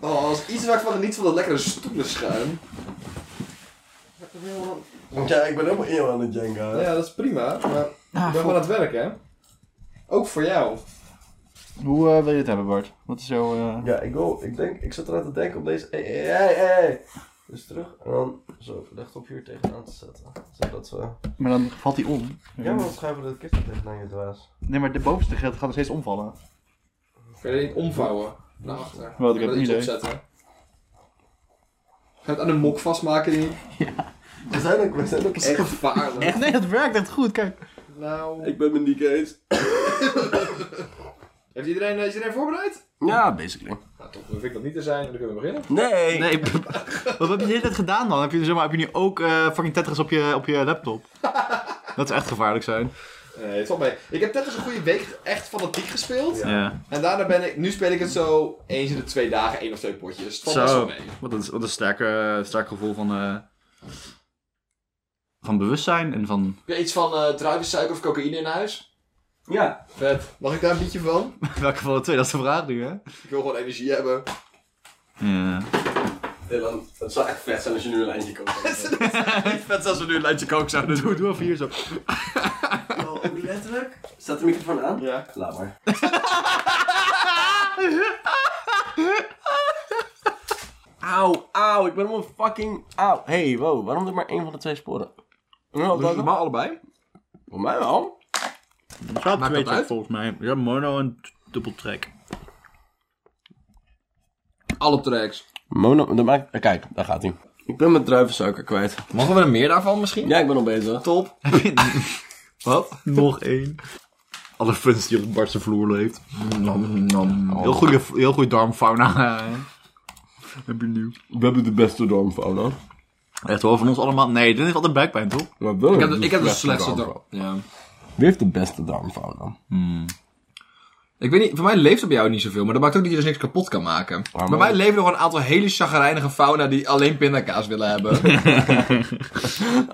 Oh, smaakt van niet van dat lekkere stoelenschuim. Want ja, ik ben helemaal eeuw aan het Jenga. hè. Ja, dat is prima, maar ik Ah, ben wel aan het werk, hè? Ook voor jou. Hoe eh, wil je het hebben, Bart? Wat is jouw... eh, Ja, ik wil, ik denk, ik zat eraan te denken op deze. Hey, hey, hey, hey. Dus terug en dan zo licht op hier tegenaan te zetten. Zodat we. Maar dan valt hij om. Ja, maar dan schuiven we de kist er tegenaan je dwaas. Nee, maar de bovenste gaat gaat nog steeds omvallen. Kun je dat niet omvouwen? Naar achter. Wat, ik heb Kan geen iets idee. opzetten. Ga je het aan een mok vastmaken, die? We zijn ook, we zijn ook Dat is gevaarlijk. Echt? Nee, dat werkt echt goed, kijk. Nou. Ik ben mijn Nick eens. Heeft iedereen, eh, is iedereen voorbereid? Ja, basically. Nou, toch hoef ik dat niet te zijn, dan kunnen we beginnen. Nee! Nee, wat heb je de hele tijd gedaan dan? Heb je, zeg maar, heb je nu ook eh, fucking Tetris op je, op je laptop? Dat zou echt gevaarlijk zijn. Nee, Eh, het valt mee. Ik heb net eens een goede week echt fanatiek gespeeld. Ja. En daarna ben ik, nu speel ik het zo eens in de twee dagen, één of twee potjes. Het valt best wel Zo, mee. wat een, wat een sterk, eh, sterk gevoel van, eh, van bewustzijn en van... Heb je iets van eh druivensuiker of cocaïne in huis? Ja. Vet. Mag ik daar een beetje van? Welke van de twee? Dat is de vraag nu, hè? Ik wil gewoon energie hebben. Ja. Dylan, het zou echt vet zijn als je nu een lijntje kan Vet als we nu een lijntje kook zouden doen. Doe, doe even hier zo. oh, letterlijk? Staat de microfoon aan? Ja. Laat maar. Auw, auw, ik ben helemaal fucking auw. Hey, wow, waarom er maar één van de twee sporen? Nou, dat normaal allebei? Voor mij wel. Maakt twee dat track uit? volgens mij. Ja, mono en dubbel track. Alle tracks. Mono, dan maak, eh, kijk, daar gaat hij. Ik ben mijn druivensuiker kwijt. Mogen we er meer daarvan misschien? Ja, ik ben al bezig. Top. Wat? Nog één. Oh. Alle fans die op de Bartse vloer leeft. Oh. Heel goede, heel goede darmfauna. eh. Heb je nu. We hebben de beste darmfauna. Echt wel van ons allemaal. Nee, dit heeft altijd buikpijn, toch? Maar wel Ik heb, ik heb de slechtste drop. Ja. Wie heeft de beste darmfauna? Ik weet niet, voor mij leeft er bij jou niet zoveel, maar dat maakt ook dat je dus niks kapot kan maken. bij mij leven nog een aantal hele chagrijnige fauna die alleen pindakaas willen hebben.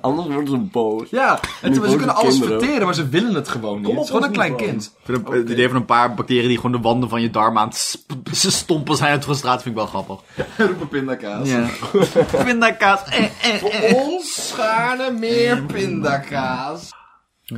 Anders worden ze boos. ja, en Nu ze, ze kunnen alles kinderen. verteren, maar ze willen het gewoon niet. op, het is gewoon een ons klein niveau. kind. Ik vind het- Het idee van Oh, een paar bacteriën die gewoon de wanden van je darm aan het sp- ze stompen zijn uit frustratie vind ik wel grappig. Roepen pindakaas. Pindakaas. Eh, eh, eh. Ons schaarne meer pindakaas.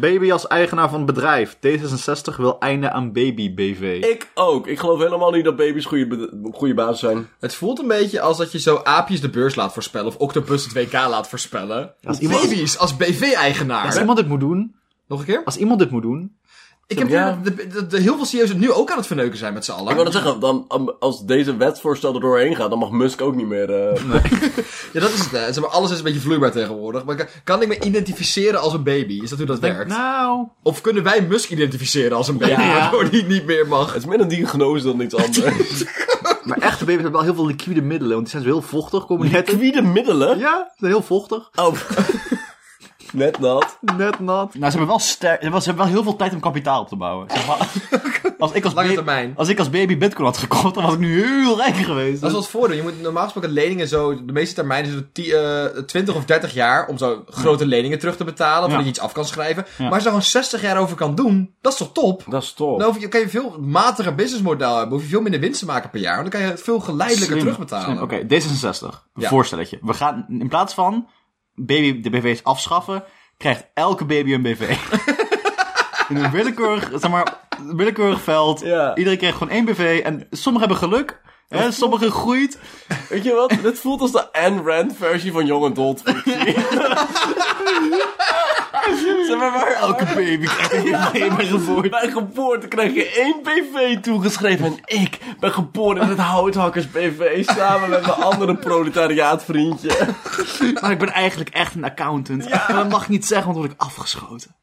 Baby als eigenaar van het bedrijf. D66 wil einde aan Baby BV. Ik ook. Ik geloof helemaal niet dat baby's goede, be- goede baas zijn. Het voelt een beetje als dat je zo aapjes de beurs laat voorspellen of octopus het WK laat voorspellen. Als iemand- Baby's als Als BV-eigenaar. iemand dit moet doen, Nog een keer? als iemand dit moet doen, Ik heb Ja. de, de, de- de- heel veel serieus het nu ook aan het verneuken zijn met z'n Ik allen. wil dat zeggen, dan, am- als deze wetsvoorstel er doorheen gaat, dan mag Musk ook niet meer. eh, Ja, dat is het. Hè. Zeg maar, alles is een beetje vloeibaar tegenwoordig. Maar kan, kan ik me identificeren als een baby? Is dat hoe dat werkt? nou... Of kunnen wij Musk identificeren als een baby, Ja. waardoor die niet meer mag? Het is meer een diagnose dan iets anders. Maar echte baby's hebben wel heel veel liquide middelen, want die zijn zo heel vochtig, komen die net... Wie de middelen? Ja, ze zijn heel vochtig. Oh. Net nat. Net nat. Nou, ze hebben wel, ster- ze hebben ze hebben wel heel veel tijd om kapitaal op te bouwen. Zeg maar, als, ik als, Lange ba- termijn. als ik als baby bitcoin had gekocht, dan was ik nu heel rijk geweest. Dus- Dat is wel het voordeel. Je moet normaal gesproken leningen zo... De meeste termijnen is het ti- eh, 20 of 30 jaar om zo grote leningen terug te betalen. Of Ja. dat je iets af kan schrijven. Ja. Maar als je daar gewoon 60 jaar over kan doen, dat is toch top? Dat is top. Dan hoef je, kan je veel matiger businessmodel hebben. Hoef je veel minder winst te maken per jaar. Want dan kan je het veel geleidelijker Slim, terugbetalen. slim. Oké, D66. Een Ja. voorstelletje. We gaan in plaats van baby de BV's afschaffen, krijgt elke baby een BV. in een willekeurig, zeg maar, willekeurig veld. Ja. Iedereen krijgt gewoon één BV. En sommigen hebben geluk. Hè, sommigen groeit. Weet je wat? Dit voelt als de Anne Rand versie van Young Adult. zeg maar, waar Elke baby krijgt een BV bij geboorte. Bij geboorte krijg je één PV toegeschreven en ik ben geboren in het houthakkers PV samen met mijn andere proletariaatvriendje. Maar ik ben eigenlijk echt een accountant. Maar dat mag ik niet zeggen, want dan word ik afgeschoten.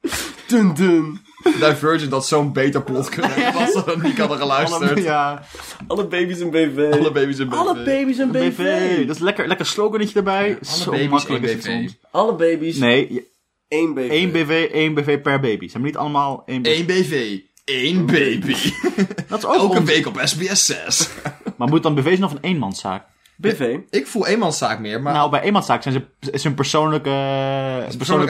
Dun dun. Divergent dat zo'n beter plot kunnen hebben. Als ze dat niet hadden geluisterd. ja. Alle baby's een PV. Alle baby's in Alle baby's een BV. BV. Dat is lekker, lekker sloganetje erbij. Zo baby's, makkelijk één is het BV. soms. Alle baby's Nee, je- één BV. één BV, één BV per baby. Ze hebben niet allemaal één BV. Eén BV. één baby. Dat is ook Elke onzin. week op SBS 6. Maar moet dan BV's nog een eenmanszaak? BV. Ik voel eenmanszaak meer, maar Nou, bij eenmanszaak zijn ze zijn persoonlijke... Persoonlijk,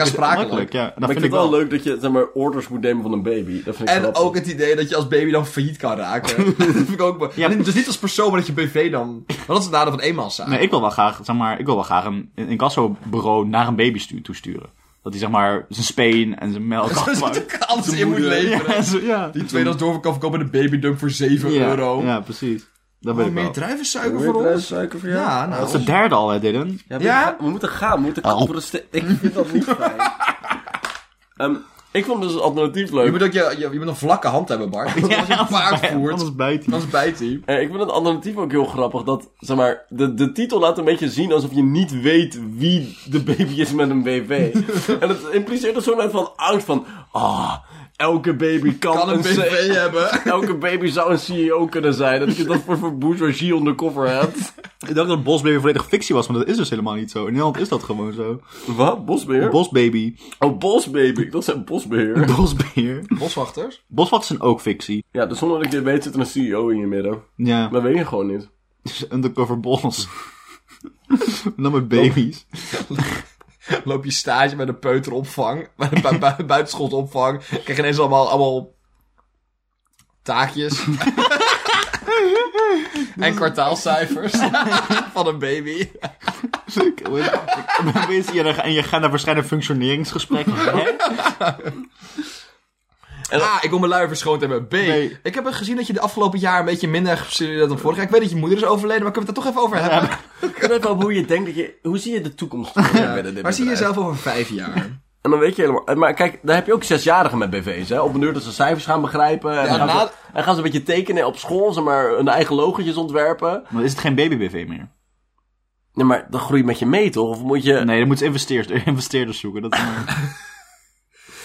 aansprakelijk. aansprakelijk, Ja, dat Maar ik vind vind ik het wel wel. leuk dat je zeg maar, orders moet nemen van een baby. Dat vind ik En grappig. ook het idee dat je als baby dan failliet kan raken. dat vind ik ook mooi. Ja. Dus niet als persoon, maar dat je BV dan... Want dat is het nadeel van eenmanszaak. Nee, ik wil wel graag, zeg maar, ik wil wel graag een, een incassobureau naar een baby stu- toesturen. Dat hij, zeg maar, zijn speen en zijn melk Dus afpakt. dat ik alles in moet leveren. Ja, zo- ja. Die tweedehands doorverkoop kan verkopen in de babydump voor 7 ja, euro. Ja, precies. Dat Oh, weet ik meer wel. druivensuiker Wil je voor ons? druivensuiker voor jou? Ja, Dat is de nou. derde al, hè, Dylan? Ja, we, Ja? we moeten gaan. We moeten gaan Oh. voor de ste- Ik vind dat niet fijn. Ehm, ik vond dus het alternatief leuk. Je moet, ook je, je, je moet een vlakke hand hebben, Bart. Want Als je een paard voert, Anders bijt hij. dan bijt hij. Eh, ik vind het alternatief ook heel grappig. Dat, zeg maar, de, de titel laat een beetje zien alsof je niet weet wie de baby is met een BV. en het impliceert een soort uit van angst van... Ah, elke baby kan, Kan een C- eh, BV hebben. Elke baby zou een CEO kunnen zijn. Dat je dat voor, voor bourgeoisie ondercover hebt. Ik dacht dat Bosbaby volledig fictie was, maar dat is dus helemaal niet zo. In Nederland is dat gewoon zo. Wat? Bosbeheer? Bosbaby, oh, bosbaby. Dat zijn bosbeheer. bosbeer. Boswachters? Boswachters zijn ook fictie. Ja, dus zonder dat je het weet zit er een CEO in je midden. Ja, Dat weet je gewoon niet. undercover bos. En dan met baby's. Loop je stage bij de peuteropvang, bij de bu- bu- buitenschoolsopvang. Krijg je ineens allemaal, allemaal taakjes. en kwartaalcijfers van een baby. Ik ben bezig en je- en je gaat naar verschillende functioneringsgesprekken. Hè? A, Ah, ik wil mijn luier verschoond hebben. B, Nee. ik heb gezien dat je de afgelopen jaar een beetje minder gestudeerd hebt dan vorig jaar. Ik weet dat je moeder is overleden, maar kunnen we het daar toch even over hebben? Ik weet wel hoe je denkt dat je... Hoe zie je de toekomst? Ja. maar zie je jezelf over vijf jaar? En dan weet je helemaal... eh, Maar kijk, daar heb je ook zesjarigen met BV's, hè? Op een uur dat ze cijfers gaan begrijpen. En, Ja, dan gaan na- ze, en gaan ze een beetje tekenen op school, zeg maar, hun eigen logotjes ontwerpen. Dan is het geen baby-BV meer. Nee, maar dan groei je met je mee, toch? Of moet je... Nee, dan moeten ze investeerders, investeerders zoeken. Dat is maar...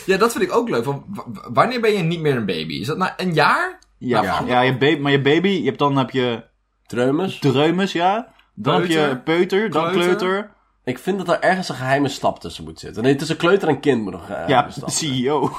Ja, dat vind ik ook leuk. Van, w- w- wanneer ben je niet meer een baby? Is dat na een jaar? ja, Ja. ja. je hebt baby, maar je baby, je hebt, dan heb je Dreumes? dreumes, ja. Dan heb je Peuter. peuter, dan Kleuter. kleuter. Ik vind dat daar ergens een geheime stap tussen moet zitten. Nee, tussen kleuter en kind moet nog een Ja, E geheime stap. CEO.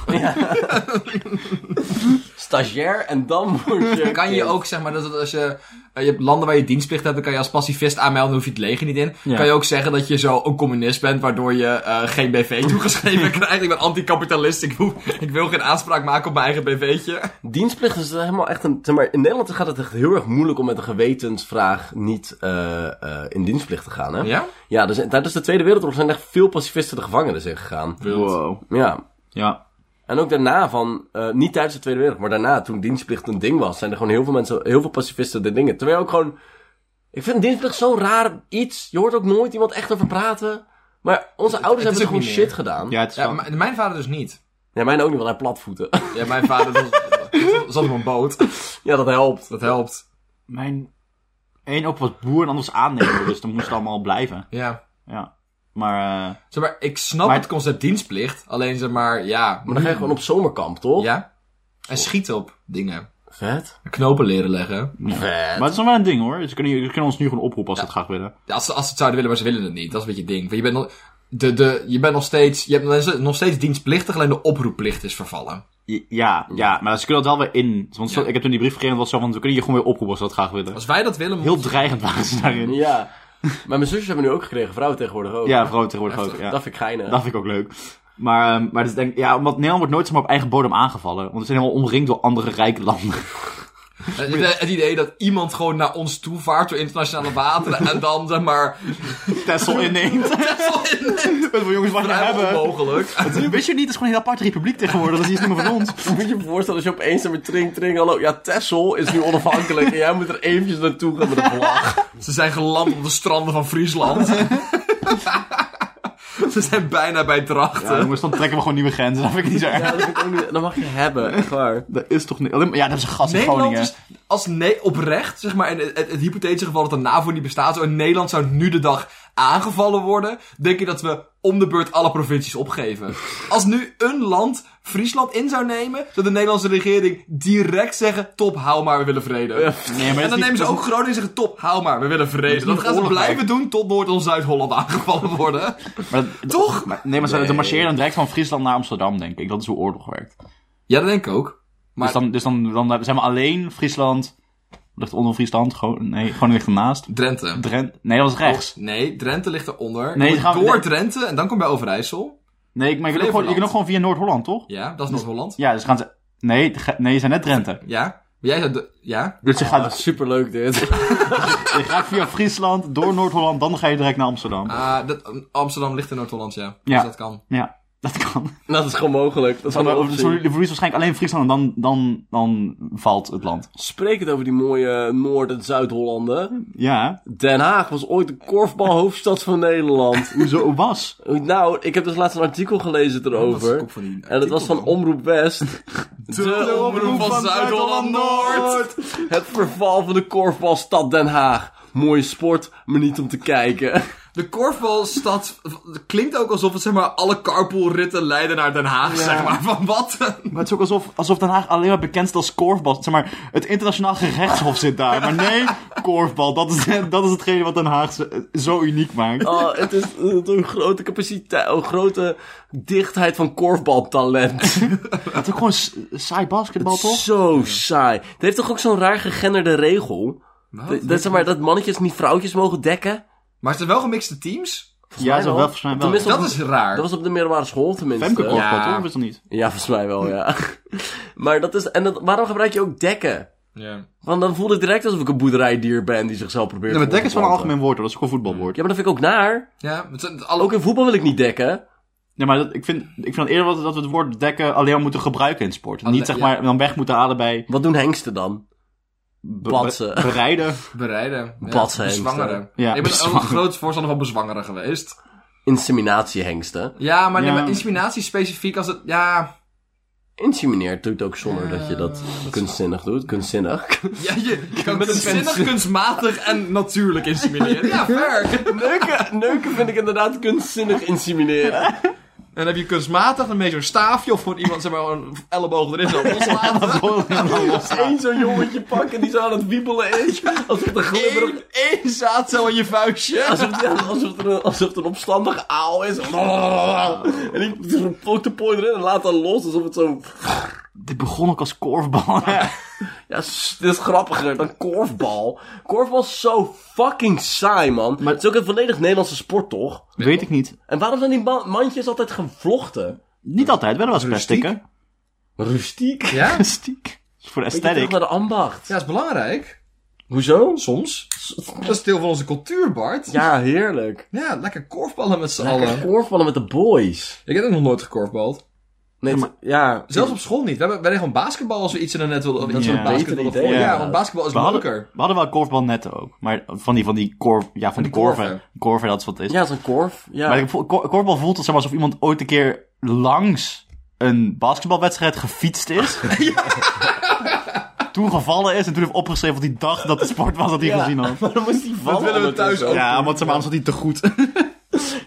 Stagiair en dan word je... Kan je kind. ook, zeg maar, dat het als je, eh, je hebt landen waar je dienstplicht hebt, dan kan je als pacifist aanmelden, dan hoef je het leger niet in. Ja. Kan je ook zeggen dat je zo een communist bent, waardoor je eh, geen BV toegeschreven krijgt. Ik ben anticapitalist, ik, wil- ik wil geen aanspraak maken op mijn eigen BV'tje. Dienstplicht is helemaal echt een... Zeg maar, in Nederland gaat het echt heel erg moeilijk om met een gewetensvraag niet eh, eh, in dienstplicht te gaan, hè? Ja? Ja, dus, tijdens de Tweede Wereldoorlog zijn echt veel pacifisten de gevangenis in gegaan. Wow. Ja. Ja. En ook daarna van, eh, niet tijdens de Tweede Wereldoorlog, maar daarna, toen dienstplicht een ding was, zijn er gewoon heel veel mensen, heel veel pacifisten de dingen. Terwijl ook gewoon, ik vind dienstplicht zo'n raar iets. Je hoort ook nooit iemand echt over praten. Maar onze ouders het is hebben ook gewoon niet shit meer. gedaan. Ja. Ja, het is ja wel- m- mijn vader dus niet. mijn ook niet, want hij platvoeten. Ja, mijn vader was- zat op een boot. ja, dat helpt. Dat helpt. Mijn één op was boer en anders aannemer, dus dan moest het allemaal blijven. Ja. Ja. Maar, eh, Zeg maar, ik snap Maar- het concept dienstplicht, alleen zeg maar, ja. Maar dan ga je gewoon op zomerkamp, toch? Ja? En schieten op dingen. Vet. Knopen leren leggen. Vet. maar het is nog wel een ding hoor. Dus Ze kunnen, ze kunnen ons nu gewoon oproepen als ze het graag willen. Ja, Als ze, als ze het zouden willen, maar ze willen het niet. Dat is een beetje het ding. Want je bent nog, de, de, je bent nog steeds, je hebt nog steeds dienstplichtig, alleen de oproepplicht is vervallen. Ja, ja, maar ze kunnen dat wel weer in. Want zo- Ja. ik heb toen die brief gekregen, was zo van, we kunnen je gewoon weer oproepen als we dat graag willen. Als wij dat willen, Heel dreigend waren ze daarin. Ja, Ja. Maar mijn zusjes hebben nu ook gekregen, vrouwen tegenwoordig ook. vrouw tegenwoordig ook, ja. Dat vind ik geinig. Dat vind ik ook leuk. Maar, ehm, maar dus denk, ik- ja, omdat Nederland wordt nooit zomaar op eigen bodem aangevallen. Want we zijn helemaal omringd door andere rijke landen. het, Eh, het- het idee dat iemand gewoon naar ons toe vaart door internationale wateren en dan zeg maar. Tessel inneemt. Van jongens, wat we Vrijwel hebben. onmogelijk. Wist je niet, het is gewoon een hele aparte republiek tegenwoordig. Dat is niet meer van ons. Moet je je voorstellen als je opeens er met tring, tring, hallo. Ja, Texel is nu onafhankelijk en jij moet er eventjes naartoe gaan met een vlag. Ze zijn geland op de stranden van Friesland. Ze zijn bijna bij Ja, drachten. jongens, dan trekken we gewoon nieuwe grenzen. Dat vind ik niet zo erg. Ja, dat, vind ik ook niet- dat mag je hebben, echt waar. Dat is toch niet... alleen maar- Ja, dat is een gas in Nederland Groningen. is als nee, oprecht, zeg maar, in het, het hypothetische geval dat de NAVO niet bestaat, zo, en Nederland zou nu de dag aangevallen worden, denk ik dat we om de beurt alle provincies opgeven. Als nu een land Friesland in zou nemen, zou de Nederlandse regering direct zeggen, top, hou maar, we willen vrede. Nee, maar en dat dan is nemen niet- ze ook Groningen en zeggen, top, hou maar, we willen vrede. Dat gaan ze oorlog, blijven doen tot Noord- en Zuid-Holland aangevallen worden. maar dat- Toch? maar- Nee, maar ze Nee. ze marcheren dan direct van Friesland naar Amsterdam, denk ik. Dat is hoe oorlog werkt. Ja, dat denk ik ook. Maar- Dus, dan, dus dan, dan zijn we alleen Friesland, Ligt onder Friesland? Gewoon, nee, gewoon ligt ernaast. Drenthe. Drenthe. Nee, dat was rechts. Nee, Drenthe ligt eronder. Nee, Nee, gaan we- door nee. Drenthe en dan kom je bij Overijssel. Nee, maar je kunt ook gewoon, je kunt ook gewoon via Noord-Holland, toch? Ja, dat is Noord-Holland. Ja, dus gaan ze... Nee, het ga- nee, ze zijn net Drenthe. Ja. Maar jij zei... de- Ja? Dus je Ah, gaat, superleuk dit. je gaat via Friesland, door Noord-Holland, dan ga je direct naar Amsterdam. Ah, dat, Amsterdam ligt in Noord-Holland, ja. Ja. Dus dat kan. Ja, dat kan. dat is gewoon mogelijk. Dat is Dan gewoon over- een dus optie. je verliest waarschijnlijk alleen Friesland en dan, dan, dan valt het land. Spreek het over die mooie Noord- en Zuid-Hollanden. Ja, Den Haag was ooit de korfbalhoofdstad van Nederland. hoezo was? Nou, ik heb dus laatst een artikel gelezen Dat is de erover. kop van die En dat was van Omroep West. De omroep van Zuid-Holland-Noord. Het verval van de korfbalstad Den Haag. Mooie sport, maar niet om te kijken. De korfbalstad klinkt ook alsof het zeg maar alle carpoolritten leiden naar Den Haag, zeg maar. Van wat? Maar het is ook alsof, alsof Den Haag alleen maar bekend staat als korfbal. Zeg maar, het internationaal gerechtshof zit daar. Maar nee, korfbal, dat is, dat is hetgene wat Den Haag zo, zo uniek maakt. Oh, het is een grote capaciteit, een grote dichtheid van korfbaltalent. Het is ook gewoon s- saai basketbal, toch? Zo saai. Het heeft toch ook zo'n raar gegenderde regel? Dat, dat, zeg maar, dat mannetjes niet vrouwtjes mogen dekken? Maar het zijn wel gemixte teams. Ja, mij zo wel. wel, volgens mij wel. Tenminste, Dat is raar. Dat was op de middelbare school tenminste. Femke korfbal, Ja. toch? Of is dat niet? Ja, volgens mij wel, ja. maar dat is... En dat, waarom gebruik je ook dekken? Want dan voelde ik direct alsof ik een boerderijdier ben die zichzelf probeert Nee, maar dek is wel een vol te planten. algemeen woord, hoor. dat is gewoon voetbalwoord. Ja, maar dat vind ik ook naar. Ja, het zijn alle... Ook in voetbal wil ik niet dekken. Nee, maar dat, ik, vind, ik vind het eerder wat- dat we het woord dekken alleen maar moeten gebruiken in sport. En Alle- niet zeg ja. maar dan weg moeten halen bij Wat doen hengsten dan? be- Batsen. be- bereiden. bereiden. Ja, Badhengsten. Bezwangeren. ik ben Ja, ook een bezwangeren. groot voorstander van bezwangeren geweest. Inseminatiehengsten. Ja, maar, nee, Ja. maar inseminatie specifiek als het... Ja, Insemineert doet ook zonder dat je dat kunstzinnig doet. Kunstzinnig. ja je, je kan kunstzinnig, kunstmatig en natuurlijk insemineren. Ja, ver. Neuken, neuken vind ik inderdaad kunstzinnig insemineren. En dan heb je kunstmatig, dan ben je zo'n staafje of gewoon iemand zeg maar een elleboog erin zo loslaten. Eén zo'n jongetje pakken die zo aan het wiebelen is. Alsof de glibberig... Eén, één zaad zo in je vuistje. Alsof, ja, alsof, er, een- alsof er een opstandig aal is. En die pokt de pooi erin en laat dan los. Alsof het zo... Dit begon ook als korfbal. Ja, s- dit is grappiger dan korfbal. Korfbal is zo fucking saai, man. Maar het is ook een volledig Nederlandse sport, toch? Weet ik niet. En waarom zijn die ma- mandjes altijd gevlochten? Niet altijd, wel was plastic, hè? Rustiek. Ja, Ja? Plastic. Voor de terug aesthetic. naar de ambacht. Ja, is belangrijk. Hoezo? Soms. Dat is deel van onze cultuur, Bart. Ja, Ja, heerlijk. lekker korfballen met z'n Lekker allen. korfballen met de boys. Ik heb ook nog nooit gekorfbald. Nee, t- ja. Zelfs op school niet. We hebben, wij deden gewoon basketbal als we iets in de net wilden. Dat is een beter basketbal idee, voor- Ja, ja. want basketbal is We hadden, leuker. we hadden wel korfbalnetten ook. Maar van die, van die korf... Ja, van die, die korven. korven. Korven, dat is wat het is. Ja, zo'n korf. Ja. Maar ik voel- kor- korfbal voelt het zeg maar, alsof iemand ooit een keer langs een basketbalwedstrijd gefietst is. Toen gevallen is en toen heeft opgeschreven wat hij dacht dat het sport was dat hij Ja. gezien had. Maar dan moest die vallen willen we thuis ondertussen. ook. Ja, want ze maar anders had hij te goed.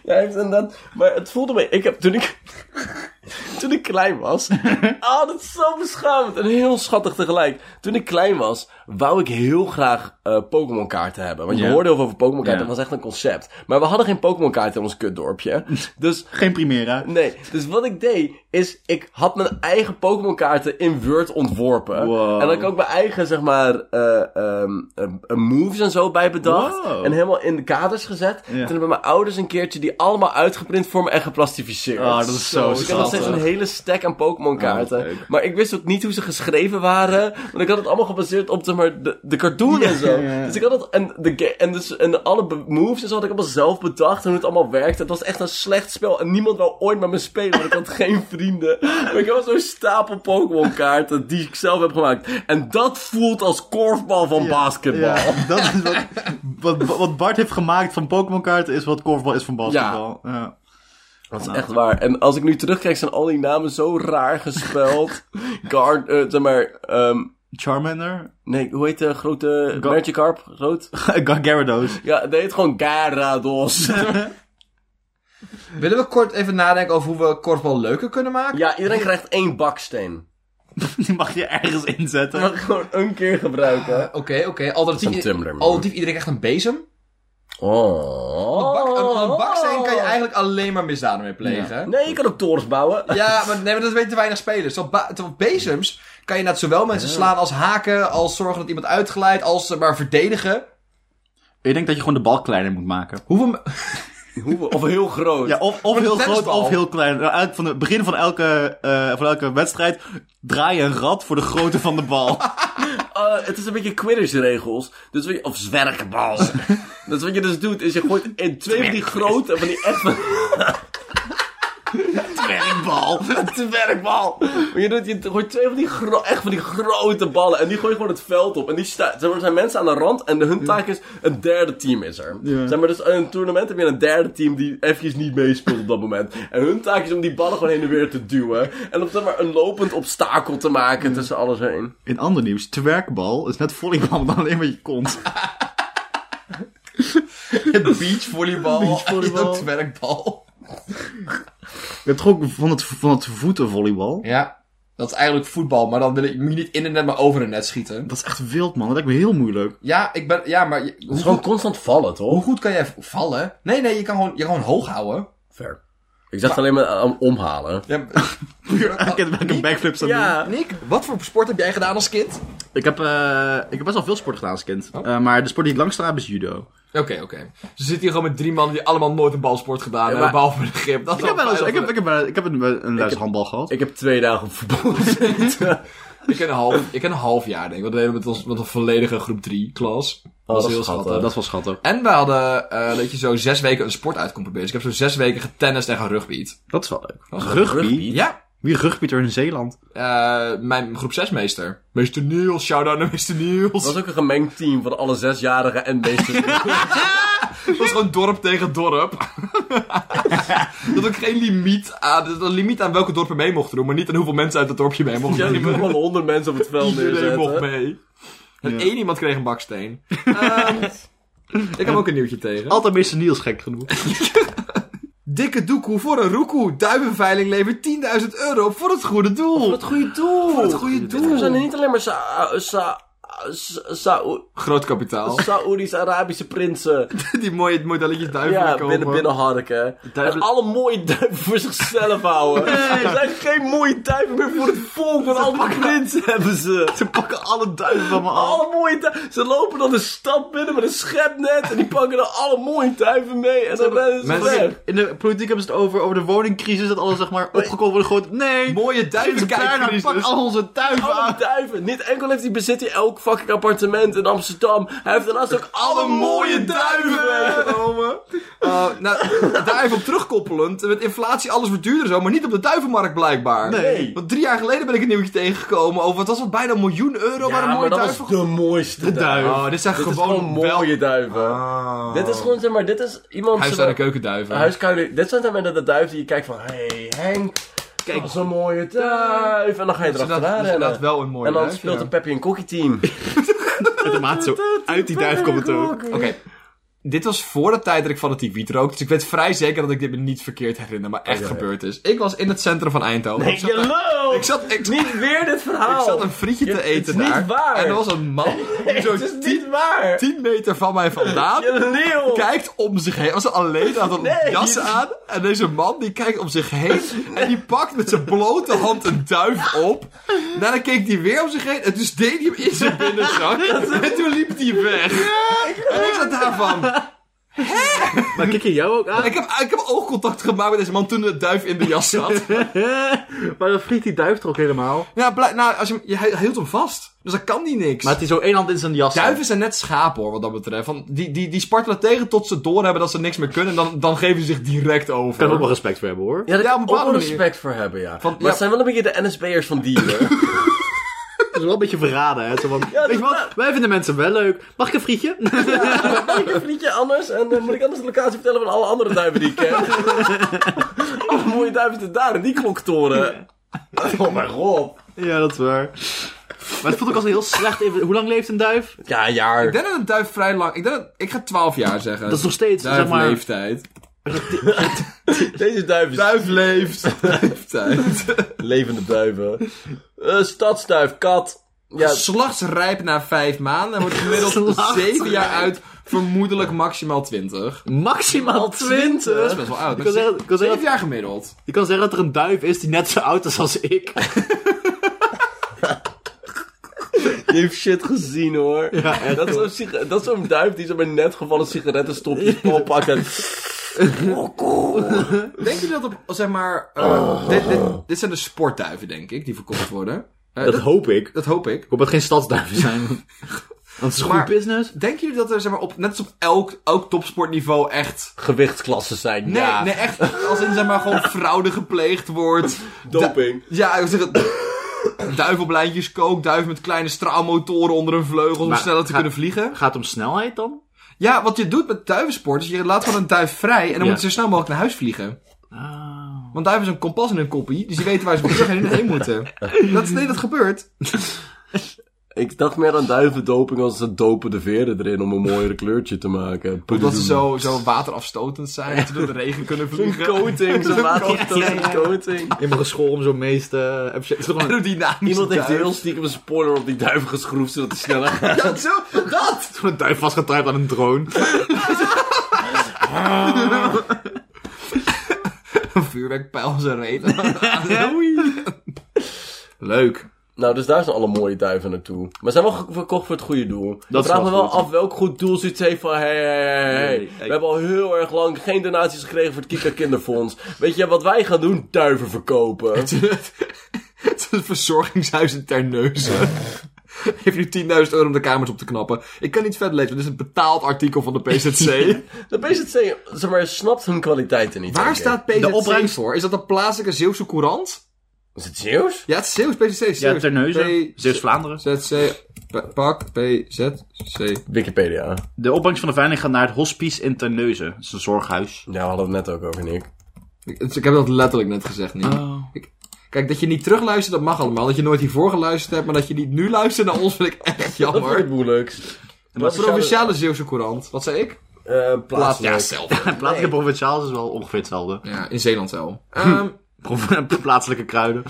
Ja, hij heeft inderdaad... Maar het voelde me... Ik heb toen ik... Toen ik klein was... Oh, dat is zo beschamend. En heel schattig tegelijk. Toen ik klein was, wou ik heel graag eh, Pokémon kaarten hebben. Want je Ja. hoorde heel veel over Pokémon kaarten. Ja. Dat was echt een concept. Maar we hadden geen Pokémon kaarten in ons kutdorpje. Dus... Geen Primera. Nee, dus wat ik deed is, ik had mijn eigen Pokémon kaarten in Word ontworpen. Wow. En dan had ik ook mijn eigen, zeg maar, eh, ehm, eh, eh, moves en zo bij bedacht. Wow. En helemaal in de kaders gezet. Toen hebben mijn ouders een keertje die allemaal uitgeprint voor me en geplastificeerd. Ah, dat is zo Dus ik had nog steeds een schattig. hele stack aan Pokémon Oh, kaarten. leuk. maar ik wist ook niet hoe ze geschreven waren. Want ik had het allemaal gebaseerd op, zeg maar, de, de cartoon en zo. ja, ja. Dus ik had het, en, de ga- en, dus, en alle be- moves en zo had ik allemaal zelf bedacht en hoe het allemaal werkte. Het was echt een slecht spel en niemand wou ooit met me spelen, want ik had geen vrienden. Maar ik had zo'n stapel Pokémon kaarten die ik zelf heb gemaakt. En dat voelt als korfbal van basketbal. Ja. Ja, dat is wat, wat, wat Bart heeft gemaakt van Pokémon-kaarten is wat korfbal is van basketbal. Ja. nou? Dat is echt waar. En als ik nu terugkijk zijn al die namen zo raar gespeld. Guard, eh, zeg maar, ehm, Charmander, nee, hoe heet de grote Ga- Magikarp? Groot? Ga- Gyarados. Ja, die heet gewoon Gyarados. Willen we kort even nadenken over hoe we korfbal leuker kunnen maken? ja, iedereen krijgt één baksteen. Die mag je ergens Dat inzetten. mag ik gewoon een keer gebruiken. Oké, oké. Alternatief, Zo'n Tumblr, man. alternatief, iedereen krijgt een bezem. Oh. Een, bak, een, een baksteen kan je eigenlijk alleen maar misdaden mee plegen. Nee, je kan ook torens bouwen. Ja, maar, nee, maar dat weten weinig spelers. Terwijl, ba- terwijl bezems kan je inderdaad zowel mensen slaan als haken, als zorgen dat iemand uitglijdt, als eh, maar verdedigen. Ik denk dat je gewoon de bal kleiner moet maken. Hoeveel... me- Hoe- Of heel groot. Ja, of, of heel groot tennisbal. of heel klein. Nou, eigenlijk van het begin van elke, eh, van elke wedstrijd draai je een rad voor de grootte van de bal. Eh, het is een beetje quidditch regels. Dus wat je, of zwerkenbal. dus wat je dus doet, is je gooit in twee van die grote, van die echt van... Werkbal. werkbal. Maar je, doet, je gooit twee van die, gro- echt van die grote ballen. En die gooi je gewoon het veld op. En die sta- zeg maar, er zijn mensen aan de rand. En hun taak is, een derde team is er. Zeg maar, dus in een toernooi heb je een derde team die eventjes niet meespeelt op dat moment. En hun taak is om die ballen gewoon heen en weer te duwen. En om zeg maar, een lopend obstakel te maken tussen alles heen. In ander nieuws, twerkbal is net volleybal, maar dan alleen met je kont. Beachvolleybal. Beachvolleybal. en Twerkbal. Je hebt toch ook van het, van het voetenvolleybal? Ja, dat is eigenlijk voetbal, maar dan wil ik, moet je niet in een net, maar over een net schieten. Dat is echt wild, man. Dat lijkt me heel moeilijk. Ja, ik ben, ja maar je- Het hoe, is gewoon goed, constant vallen, hoe toch? goed kan jij v- vallen? Nee, nee, je kan gewoon, je kan gewoon hoog houden. Ver. Ik zag het alleen maar aan- omhalen. Ja, maar- puur, Ik heb ik een Nick, backflip aan doen. Ja. Nick, wat voor sport heb jij gedaan als kind? Ik heb, eh, ik heb best wel veel sport gedaan als kind. Oh. Eh, maar de sport die ik langst gedaan heb is judo. Oké, oké. Ze zitten hier gewoon met drie mannen die allemaal nooit een balsport gedaan hebben, maar- behalve de grip. Dat is Ik heb, wel wel eens, ik fijn heb, dat ik heb, wel- ik heb een, een les heb- handbal gehad. Ik heb twee dagen voetbal gezeten. we- ik ken een half, ik ken een half jaar denk ik. Want we deden met, ons, met een volledige groep drie klas. Dat was dat is heel schattig. schattig. dat was schattig. En we hadden, eh, dat je zo zes weken een sport uit kon proberen. Dus ik heb zo zes weken getennist en gerugbied. Dat is wel leuk. Dat is Rugby? rugby. Ja, Wie rugbyt er in Zeeland? Eh, mijn groep 6 meester. Meester Niels, shout-out naar meester Niels. Dat was ook een gemengd team van alle zesjarigen en meester. Het was gewoon dorp tegen dorp. dat had ook geen limiet aan, er was een limiet aan welke dorpen mee mochten doen, maar niet aan hoeveel mensen uit het dorpje mee mochten Ja, die doen. moet gewoon honderd mensen op het veld Iedereen mocht neerzetten. mee. En Ja. één iemand kreeg een baksteen. Ehm, ik heb ook een nieuwtje tegen. Altijd meester Niels gek genoeg. Dikke doekoe voor een roekoe. Duivenveiling levert 10.000 euro op voor het goede doel. Wat goede doel! Voor het goede We zijn er doel. niet alleen maar Sa- Sa- Sa- Sa- Groot kapitaal. Saoedisch-Arabische prinsen. Die mooie modelletjes duiven Ja, die komen. binnen, binnen harken. Duiven- En alle mooie duiven voor zichzelf houden. Er zijn geen mooie duiven meer voor het volk, want alle prinsen hebben ze. Ze pakken alle duiven van Oh. me af. Alle mooie duiven. Ze lopen dan de stad binnen met een schepnet en die pakken dan alle mooie duiven mee en dan rennen ze mensen- weg. In de politiek hebben ze het over, over de woningcrisis, dat alles zeg maar opgekomen wordt. Gewoon, nee, Mooie Sinds Bernhard duivenkijkcrisis. pakt al onze duiven Alle aan. duiven. Niet enkel heeft hij bezit hij elk fucking appartement in Amsterdam. Hij heeft daarnaast ook alle mooie duiven. meegenomen. Eh, nou, daar even op terugkoppelend. Met inflatie, alles wordt duurder zo, maar niet op de duivenmarkt blijkbaar. Nee. Want drie jaar geleden ben ik een nieuwtje tegengekomen over, wat was het, bijna een miljoen euro waar een Ja, mooie maar dat duif was de mooiste duif. Ah. Oh, dit zijn Dit is gewoon, gewoon Ah. mooie duiven. Oh. Dit is gewoon, zeg maar, dit is iemand... Huis- zeg en maar- keukenduiven. Huiskuilen. Dit zijn dan met de duif die je kijkt van... hey, Henk, kijk, dat is een mooie duif. En dan ga je dat is erachteraan inderdaad- dat is rennen. inderdaad wel een mooie En dan duif, speelt ja. een Peppy en Kokkie team. Automaat zo, uit die duif komt het ook. Oké. Dit was voor de tijd dat ik fanatiek wiet rookte, dus ik weet vrij zeker dat ik dit me niet verkeerd herinner, maar echt Oh, ja, ja. gebeurd is. Ik was in het centrum van Eindhoven. Nee, ik zat, je lult! ik zat, ik- Niet weer dit verhaal. ik zat een frietje Je- te het is eten niet daar. waar. En er was een man die zo Het is niet waar. 10 meter van mij vandaan. Je leeuw. Kijkt om zich heen. Hij Was alleen had een Nee. jas aan. En deze man die kijkt om zich heen. En die pakt met zijn blote hand een duif op. Daarna keek hij weer om zich heen. En toen deed hij hem in zijn binnenzak. En toen liep hij weg. En ik zat daarvan. Maar kijk je jou ook aan? Ik heb, ik heb oogcontact gemaakt met deze man toen de duif in de jas zat. maar dan vliegt die duif toch ook helemaal? Ja, blijk- nou, als je, hem- je- hij hield hem vast. Dus dat kan die niks. Maar het is zo één hand in zijn jas. Duiven zijn net schapen hoor, wat dat betreft. Van, die, die, die spartelen tegen tot ze doorhebben dat ze niks meer kunnen. En dan, dan geven ze zich direct over. Daar kan ik ook wel respect voor hebben hoor. Ja, daar Ja, kan op een ik ook wel bepaalde manier. respect voor hebben, ja. Van- maar ja. het zijn wel een beetje de NSB'ers van dieren. Dat is wel een beetje verraden hè. Zo van, weet je wat, wij vinden mensen wel leuk. Mag ik een frietje? Mag ik een vriendje anders? En eh, moet ik anders de locatie vertellen van alle andere duiven die ik ken? alle mooie duiven zitten daar in die kloktoren. Oh mijn god. ja, dat is waar. Maar het voelt ook als een heel slecht... even- Hoe lang leeft een duif? Ja, een jaar. Ik denk dat een duif vrij lang... Ik, denk dat, ik ga 12 jaar zeggen. Dat is nog steeds, zeg maar... Duifleeftijd. Deze duiven. Duif leeft. Leeftijd. Levende duiven. Eh stadsduif, kat. Ja, Slachtsrijp na 5 maanden. En wordt gemiddeld Slachtsrijp. 7 jaar uit. Vermoedelijk maximaal 20. Maximaal 20! Dat is best wel oud. Ik kan zeggen- ik 7 kan zeggen- jaar gemiddeld. Je kan zeggen dat er een duif is die net zo oud is als ik. Die heeft shit gezien hoor. Ja, dat is zo'n sig- dat is zo'n duif die zo bij net gevallen sigarettenstopjes oppakt en... Denk je dat op, zeg maar... eh, Oh. dit, dit, dit zijn de sportduiven, denk ik, die verkocht worden. Eh, Dat dat, hoop ik. dat hoop ik. Ik hoop dat geen stadsduiven zijn. Dat is goed Maar- business. Denken jullie dat er, zeg maar, op, net als op elk, elk topsportniveau echt... Gewichtsklassen zijn, Nee, ja. nee, echt. Als in, zeg maar, gewoon fraude gepleegd wordt. Doping. Du- ja, ik wil zeggen... Duif op lijntjes kook, duif met kleine straalmotoren onder hun vleugels om Maar sneller te ga- kunnen vliegen. Gaat het om snelheid dan? Ja, wat je doet met duivensport is je laat gewoon een duif vrij en dan Ja. moeten ze zo snel mogelijk naar huis vliegen. Ah. Want duiven hebben een kompas in hun koppie, dus die weten waar ze op vliegen en heen moeten. Dat is, nee, dat gebeurt. Ik dacht meer aan duivendoping als ze dopen de veren erin om een mooier kleurtje te maken. Omdat ze zo, zo waterafstotend zijn, dat ze door de regen kunnen Een vliegen. coating, zo'n waterstof coating. In mijn school om zo'n meest... eh, heb je- is toch een- Aerodynamisch. Iemand heeft heel stiekem een spoiler op die duif geschroefd zodat hij sneller gaat. Ja, zo, dat! Zo'n duif vastgetuigd aan een drone. Een vuurwerkpijl om zijn reet. Leuk. Nou, dus daar zijn alle mooie duiven naartoe. Maar ze zijn wel ge- verkocht voor het goede doel. Dat Dat is vraag me wel wel goed. af welk goed doel zoiets heeft van... Hey, hey, hey, hey. Nee, We hebben al heel erg lang geen donaties gekregen voor het Kika Kinderfonds. Weet je wat wij gaan doen? Duiven verkopen. Het is een verzorgingshuis in Terneuzen. Heeft nu 10.000 euro om de kamers op te knappen. Ik kan niet verder lezen, want dit is een betaald artikel van de PZC. De PZC, zeg maar, snapt hun kwaliteiten niet. Waar denk ik. staat PZC De opbrengst- voor? Is dat een plaatselijke Zeeuwse courant? Is het Zeeuws? Ja, het is Zeeuws, PZC. Zeeuws. Ja, Terneuzen. Zeeuws-Vlaanderen. PZC, P- pak, PZC. Wikipedia. De opbrengst van de veiling gaat naar het hospice in Terneuzen. Dat is een zorghuis. Ja, we hadden het net ook over, Nick. Ik, ik heb dat letterlijk net gezegd, Oh. Ah. niet. Kijk, dat je niet terugluistert, dat mag allemaal. Dat je nooit hiervoor geluisterd hebt, maar dat je niet nu luistert naar ons, vind ik echt Dat wordt het jammer. moeilijkst. De provinciale Zeeuwse courant. Wat zei ik? Eh, plaatselijk. zelf. Plaatselijke provinciaals is wel ongeveer hetzelfde. Ja, in Zeeland wel. Ehm, Pro- Plaatselijke kruiden.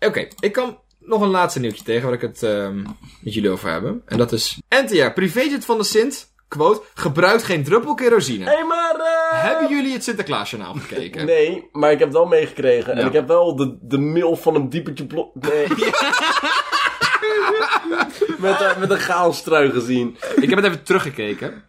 Oké, ik kan nog een laatste nieuwtje tegen waar ik het ehm, met jullie over hebben. En dat is... NTA, privéjet van de Sint, quote, gebruikt geen druppel kerosine. Hé, maar... eh, Hebben jullie het Sinterklaasjournaal gekeken? Nee, maar ik heb het wel meegekregen. En Ja. ik heb wel de, de mail van een diepertje blok. Nee. met, een- met een gaalstrui gezien. Ik heb het even teruggekeken.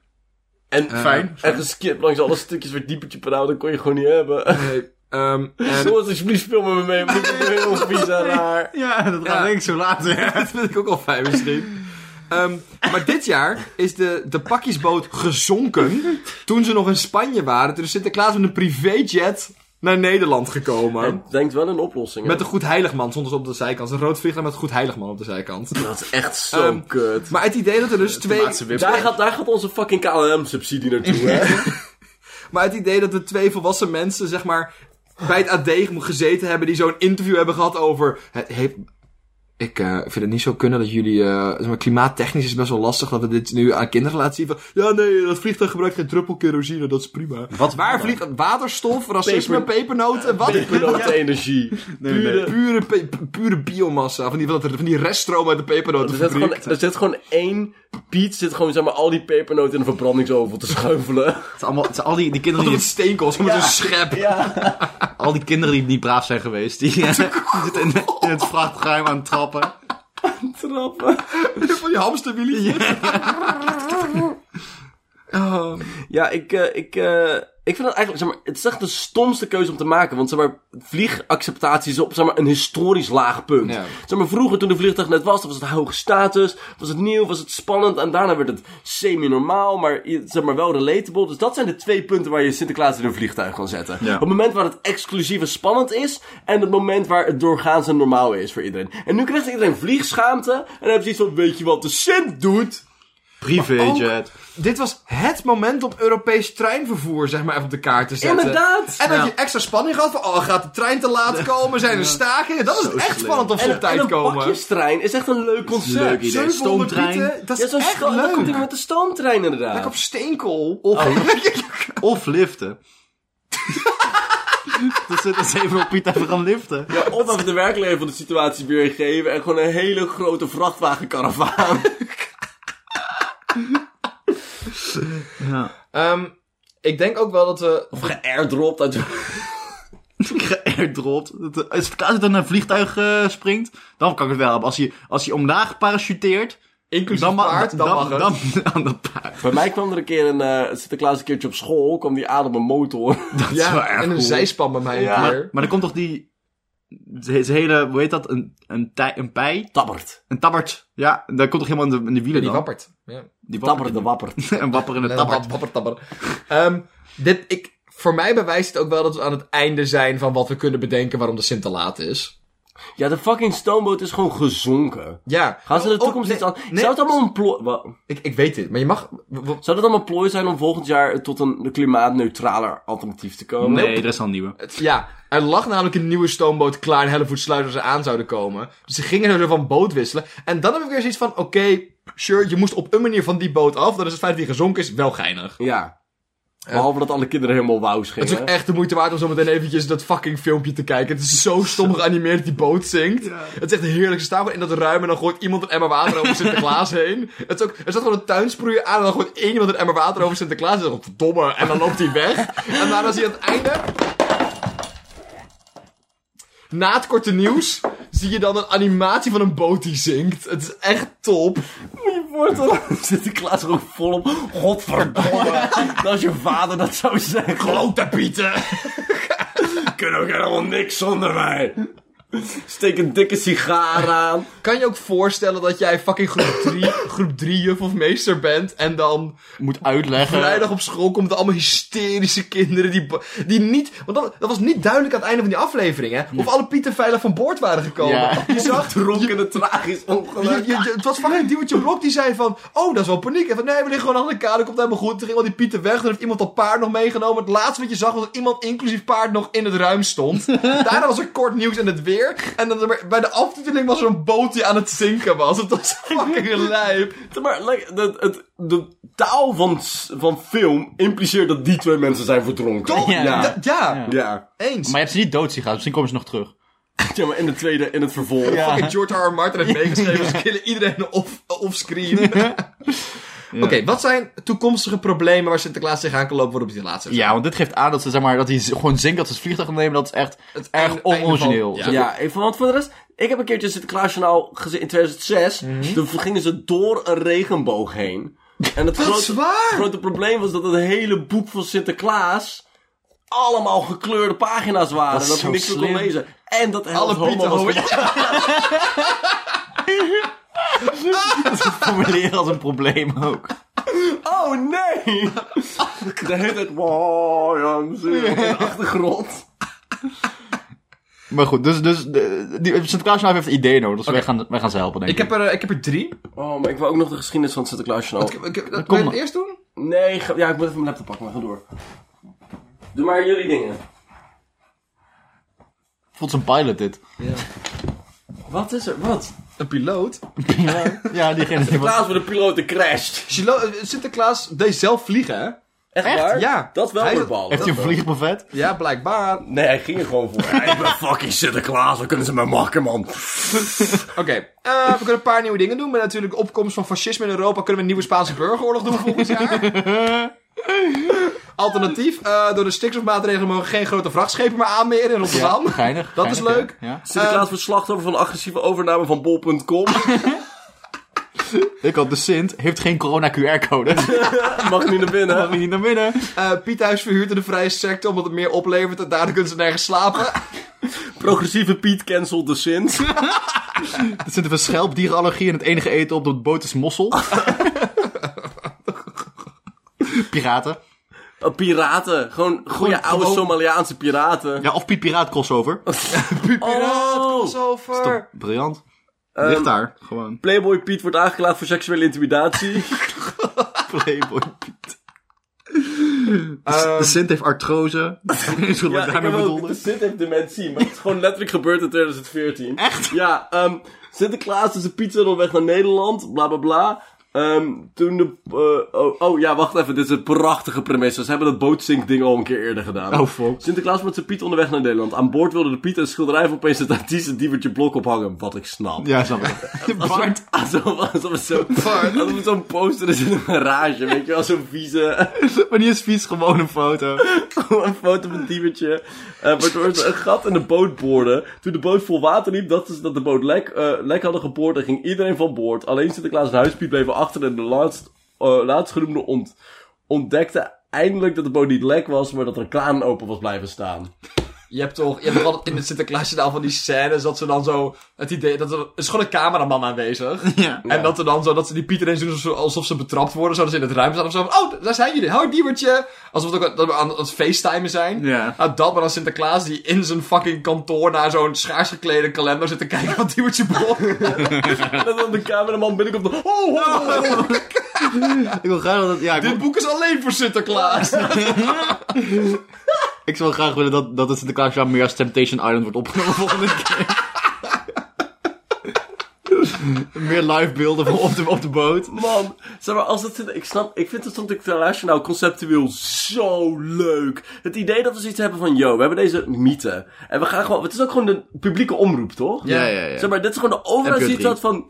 En, Fijn. En geskipt langs alle stukjes waar diepertje penauw, dat kon je gewoon niet hebben. Nee, ehm, en- Zoals alsjeblieft speel met me mee, want ik ben heel vies en raar. Ja, dat Ja. ik zo later. dat vind ik ook al fijn misschien. Ehm, maar dit jaar is de, de pakjesboot gezonken toen ze nog in Spanje waren. Toen is Sinterklaas met een privéjet naar Nederland gekomen. Hij denkt wel een oplossing. hè. Met een goed heiligman, zonder ze op de zijkant. Een rood vliegtuig met een goed heiligman op de zijkant. Dat is echt zo Ehm, kut. Maar het idee dat er dus twee... Daar gaat, daar gaat onze fucking KLM-subsidie naartoe, hè? Maar het idee dat er twee volwassen mensen, zeg maar, bij het AD gezeten hebben, die zo'n interview hebben gehad over. Het heeft- ik eh, vind het niet zo kunnen dat jullie. eh, zeg maar, klimaattechnisch is het best wel lastig dat we dit nu aan kinderen laten zien. Van, ja, nee, dat vliegtuig gebruikt geen druppel kerosine, dat is prima. Wat Waar vliegt waterstof, racisme, Peper- pepernoten, wat? Pepernoot energie. Pure, pure, pe- pure biomassa. Van die, van dat- van die reststroom uit de Er zit, gewoon, pepernoten. er zit gewoon één Piet, zit gewoon zeg maar al die pepernoten in een verbrandingsoven te schuifelen. Het, is allemaal, het zijn al die, die kinderen Tot die het steenkool, zo met een schep. Al die kinderen die niet braaf zijn geweest, die, eh, die zitten in, in het vrachtruim aan het trappen. Trappen. Van die hamsterwielen. Oh. Ja, ik, eh, ik, eh, ik vind dat eigenlijk, zeg maar, het is echt de stomste keuze om te maken. Want zeg maar, vliegacceptatie is op zeg maar, een historisch laag punt. Ja. Zeg maar, vroeger toen de vliegtuig net was, dan was het hoge status, was het nieuw, was het spannend. En daarna werd het semi-normaal, maar, i- zeg maar wel relatable. Dus dat zijn de twee punten waar je Sinterklaas in een vliegtuig kan zetten. Ja. Op het moment waar het exclusief en spannend is, en het moment waar het doorgaans en normaal is voor iedereen. En nu krijgt iedereen vliegschaamte, en dan heb je zoiets van, weet je wat de Sint doet? Privéjet. Dit was het moment om Europees treinvervoer zeg maar, even op de kaart te zetten. Inderdaad! En dat je extra spanning had van, oh, gaat de trein te laat komen? Zijn er stakingen? Dat is Zo echt slim. spannend of ze En, op tijd en een komen. pakjestrein is echt een leuk een concept. leuk idee. 700 stoomtrein. pieten, dat Ja, is zo'n echt sto- dan komt leuk. hij met de stoomtrein inderdaad. Lekker op steenkool. Oh. Oh. Of liften. Dan zitten ze even op Piet even gaan liften. Ja, of even de werkelijkheid van de situatie weergeven en gewoon een hele grote vrachtwagenkaravaan. Ehm, ik denk ook wel dat we... of geairdropt uit... geairdropt. Dat- Als Sinterklaas uit een vliegtuig eh, springt, dan kan ik het wel hebben. Als hij, als hij omlaag parachuteert, Inclusief dan, ma- paard, dan, mag het. dan, aan dat paard. Bij mij kwam er een keer een eh, Sinterklaas een keertje op school, kwam die aan op een motor. Dat is wel ja, erg en een cool. zijspan bij mij een Ja. keer. Maar dan komt toch die... Zijn hele, hoe heet dat? Een, een, tij, een pij? Tabbert. Een tabbert. Ja, dat komt toch helemaal in de, in de wielen Die dan? wappert. Ja. Die Tabbert de wappert. een wapperende tabbert. Wapper, tabber. Ehm, dit, ik, voor mij bewijst het ook wel dat we aan het einde zijn van wat we kunnen bedenken waarom de Sint te laat is. Ja, de fucking stoomboot is gewoon gezonken. Ja. Gaan ze de Oh, toekomst nee, iets aan... nee. Zou het allemaal een plooi... wa- Ik, ik weet dit, maar je mag... Zou dat allemaal plooi zijn om volgend jaar tot een klimaatneutraler alternatief te komen? Nee, er is al een nieuwe. Het- Ja, er lag namelijk een nieuwe stoomboot klaar in Hellevoetsluis als ze aan zouden komen. Dus ze gingen er van boot wisselen. En dan heb ik weer zoiets van, oké, sure, je moest op een manier van die boot af. Dan is het feit dat die gezonken is wel geinig. Ja. Behalve dat alle kinderen helemaal wauw Het is gingen. ook echt de moeite waard om zo meteen eventjes dat fucking filmpje te kijken. Het is zo stom geanimeerd dat die boot zinkt. Het is echt heerlijk. Ze staan gewoon in dat ruim en dan gooit iemand een emmer water over Sinterklaas heen. Het is ook, er staat gewoon een tuinsproeier aan en dan gooit één iemand een emmer water over Sinterklaas. En dan zegt, verdomme. En dan loopt hij weg. En daarna zie je aan het einde... Na het korte nieuws zie je dan een animatie van een boot die zinkt. Het is echt top. Moet je voorstellen, Sinterklaas er ook volop. Godverdomme. dat is je vader dat zou zeggen. Klote pieten. kunnen ook helemaal niks zonder mij. Steek een dikke sigaar aan. Kan je ook voorstellen dat jij fucking groep 3 groep drie juf of meester bent en dan Moet uitleggen. vrijdag op school komt er allemaal hysterische kinderen die, bo- die niet... Want dat, dat was niet duidelijk aan het einde van die aflevering, hè? Of alle pieten veilig van boord waren gekomen. Ja. Je zag... Dronken het tragisch je- ongeluk. je- je- het was fucking Diewertje Blok die zei van... Oh, dat is wel paniek. En van, nee, we liggen gewoon aan de kade. Komt helemaal goed. Toen ging al die pieten weg. Toen heeft iemand dat paard nog meegenomen. Het laatste wat je zag was dat iemand inclusief paard nog in het ruim stond. Daarna was er kort nieuws en het weer. En dan, bij de aftiteling was er een boot die aan het zinken was. Het was fucking lijp. Maar like, de, het, de taal van, s- van film impliceert dat die twee mensen zijn verdronken. Toch? Ja. Ja. Ja. Ja, Ja. Ja. eens. Maar je hebt ze niet dood zien gaan, dus misschien komen ze nog terug. maar in de tweede, in het vervolg. Ja. Fucking George R. R. Martin heeft meegeschreven. Ze killen iedereen off- offscreen. Oké, wat zijn toekomstige problemen waar Sinterklaas tegenaan kan lopen voordat hij de laatste is? Ja, want dit geeft aan dat ze, zeg maar, dat hij z- gewoon zinkt dat ze het vliegtuig gaan nemen. Dat is echt Het erg einde- einde onorigineel. van- Ja, even, want voor de rest, ik heb een keertje het Sinterklaasjournaal gezien in 2006. Toen gingen ze door een regenboog heen. En het Dat is grote, waar! grote probleem was dat het hele boek van Sinterklaas allemaal gekleurde pagina's waren. is Dat, je zo niks meer kon slim. lezen. En dat de helft Alle homo pieten was. homo. Formuleren als een probleem ook. Oh nee! de hele tijd, wow, ja, zie je, op de achtergrond. Maar goed, dus, dus de- die Sinterklaasjournaal heeft ideeën nodig, dus wij, gaan, wij gaan ze helpen, denk Ik ik. heb, er, eh, ik heb er drie. Oh, maar ik wil ook nog de geschiedenis van het Sinterklaasjournaal. Ik, ik, dat, wil kom je maar. het eerst doen? Nee, ga- ja, ik moet even mijn laptop pakken, maar ga door. Doe maar jullie dingen. Voelt zijn pilot dit. Wat is er? Wat? Een piloot. ja, diegene die was... Klaas voor de piloot de crashed. Chilo- eh, Sinterklaas deed zelf vliegen, hè? Echt, waar? Dat is wel Hij- weer bal. Heeft hij een vliegenbuffet? Ja, blijkbaar. Oké, Nee, hij ging er gewoon voor. Ja, ik ben fucking Sinterklaas, dan kunnen ze me makken, man. eh, we kunnen een paar nieuwe dingen doen. Met natuurlijk de opkomst van fascisme in Europa kunnen we een nieuwe Spaanse burgeroorlog doen volgend jaar. Alternatief, eh, door de stikstofmaatregelen mogen geen grote vrachtschepen meer aanmeren in Rotterdam. Geinig. Dat is geinig, leuk. Ja. Ja. Sinterklaas wordt slachtoffer van de agressieve overname van bol.com. Ik had de Sint, heeft geen corona-QR-code. Mag niet naar binnen. Mag niet naar binnen. Eh Piethuis verhuurt in de vrije sector omdat het meer oplevert en daardoor kunnen ze nergens slapen. Progressieve Piet cancelt de Sint. Er zit even schelpdierenallergie en het enige eten op de boot is mossel. Piraten. Oh, piraten. Gewoon goede Gewoon- oude gewoon- Somaliaanse piraten. Ja, of Piet Piraat crossover. Oh! Crossover. Briljant. Ehm, Ligt daar, gewoon. Playboy Piet wordt aangeklaagd voor seksuele intimidatie. Playboy Piet. De, de Sint heeft artrose. Is wat ik Ja, ik daarmee heb ook, bedoelde. de Sint heeft dementie, maar het is gewoon letterlijk gebeurd in 2014. Echt? Ja, ehm Sinterklaas is een pizza onderweg naar Nederland, bla bla bla. Ehm, toen de... eh, oh, oh, ja, wacht even. Dit is een prachtige premisse. Ze hebben dat bootsinkding al een keer eerder gedaan. Oh, fuck. Sinterklaas met zijn Piet onderweg naar Nederland. Aan boord wilde de Piet een schilderij van presentatrice Diebertje Blok ophangen. Wat ik snap. Ja, snap ik. Bart. Alsof, alsof het zo- alsof het zo'n poster is in een garage. Weet je wel, zo'n vieze... Maar die is vies, gewoon een foto. een foto van Diebertje. eh waardoor ze een gat in de boot boorden. Toen de boot vol water liep, dachten ze dat de boot lek, eh, lek hadden geboord en ging iedereen van boord. Alleen Sinterklaas en Huispiet bleven achter en de laatst, eh, laatstgenoemde ont, ontdekte eindelijk dat de boot niet lek was, maar dat er een kraan open was blijven staan. Je hebt toch, je hebt toch altijd in het Sinterklaasjournaal van die scènes dat ze dan zo het idee, dat er, er is gewoon een cameraman aanwezig. Ja. En dat ze dan zo, dat ze die Pieter eens doen alsof, alsof ze betrapt worden, zodat ze in het ruim staan of zo. Van, oh, daar zijn jullie, hoi Diebertje. Alsof het ook, dat we aan het facetimen zijn. Ja. Nou, dat maar dan Sinterklaas die in zijn fucking kantoor naar zo'n schaars geklede kalender zit te kijken van Diebertje Blok. En dan de cameraman binnenkomt. Oh, oh, oh, oh. Ik wil graag dat... Ja, ik, wil- Dit boek is alleen voor Sinterklaas. ik zou graag willen dat, dat het Sinterklaasjaar meer als Temptation Island wordt opgenomen volgende keer. meer live beelden van op de, op de boot. Man, zeg maar, als het, ik snap, ik vind het soms een nou conceptueel zo leuk. Het idee dat we zoiets hebben van, yo, we hebben deze mythe. En we gaan gewoon, het is ook gewoon de publieke omroep, toch? Ja, ja, ja. Zeg maar, dit is gewoon de overheid Heb je ziet het dat van,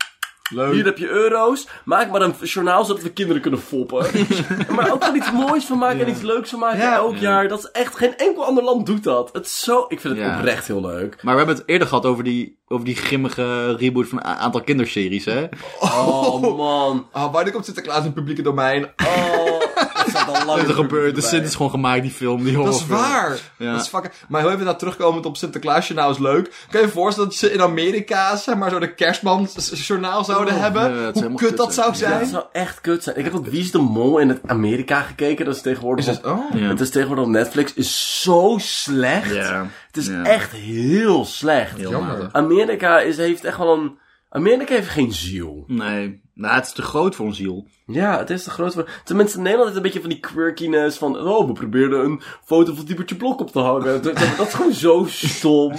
hier heb je euro's, maak maar een journaal zodat we kinderen kunnen foppen. maar ook gewoon iets moois van maken en iets leuks van maken Ja. elk jaar. Dat is echt, geen enkel ander land doet dat. Het is zo, ik vind het Ja. oprecht heel leuk. Maar we hebben het eerder gehad over die, over die grimmige reboot van een a- aantal kinderseries, hè? Oh man, Oh, wanneer komt Sinterklaas in publieke domein? oh, dat staat al lang Dat is in de gebeurd. De bij. Sint is gewoon gemaakt, die film. Die Dat is waar. Ja. Dat is fucking... Maar heel even nou terugkomend op Sinterklaasjournaal is leuk. Kan je je voorstellen dat ze in Amerika zeg maar zo de kerstmansjournaal zouden Oh, hebben? nee, dat is Hoe helemaal kut kut, dat zou zeg. Ja, zijn? dat zou echt kut zijn. Ik heb ook Wie is de Mol in het Amerika gekeken. Dat is tegenwoordig... Is het- op- oh. Ja. Het is tegenwoordig op Netflix. Is zo slecht. Ja. Het is Ja. echt heel slecht. Jammer. matig. Amerika is, heeft echt wel een... Amerika heeft geen ziel. Nee. Nou, het is te groot voor een ziel. Ja, het is de grootste... Tenminste, in Nederland heeft een beetje van die quirkiness van... Oh, we probeerden een foto van Diebertje Blok op te hangen. Dat, dat is gewoon zo stom.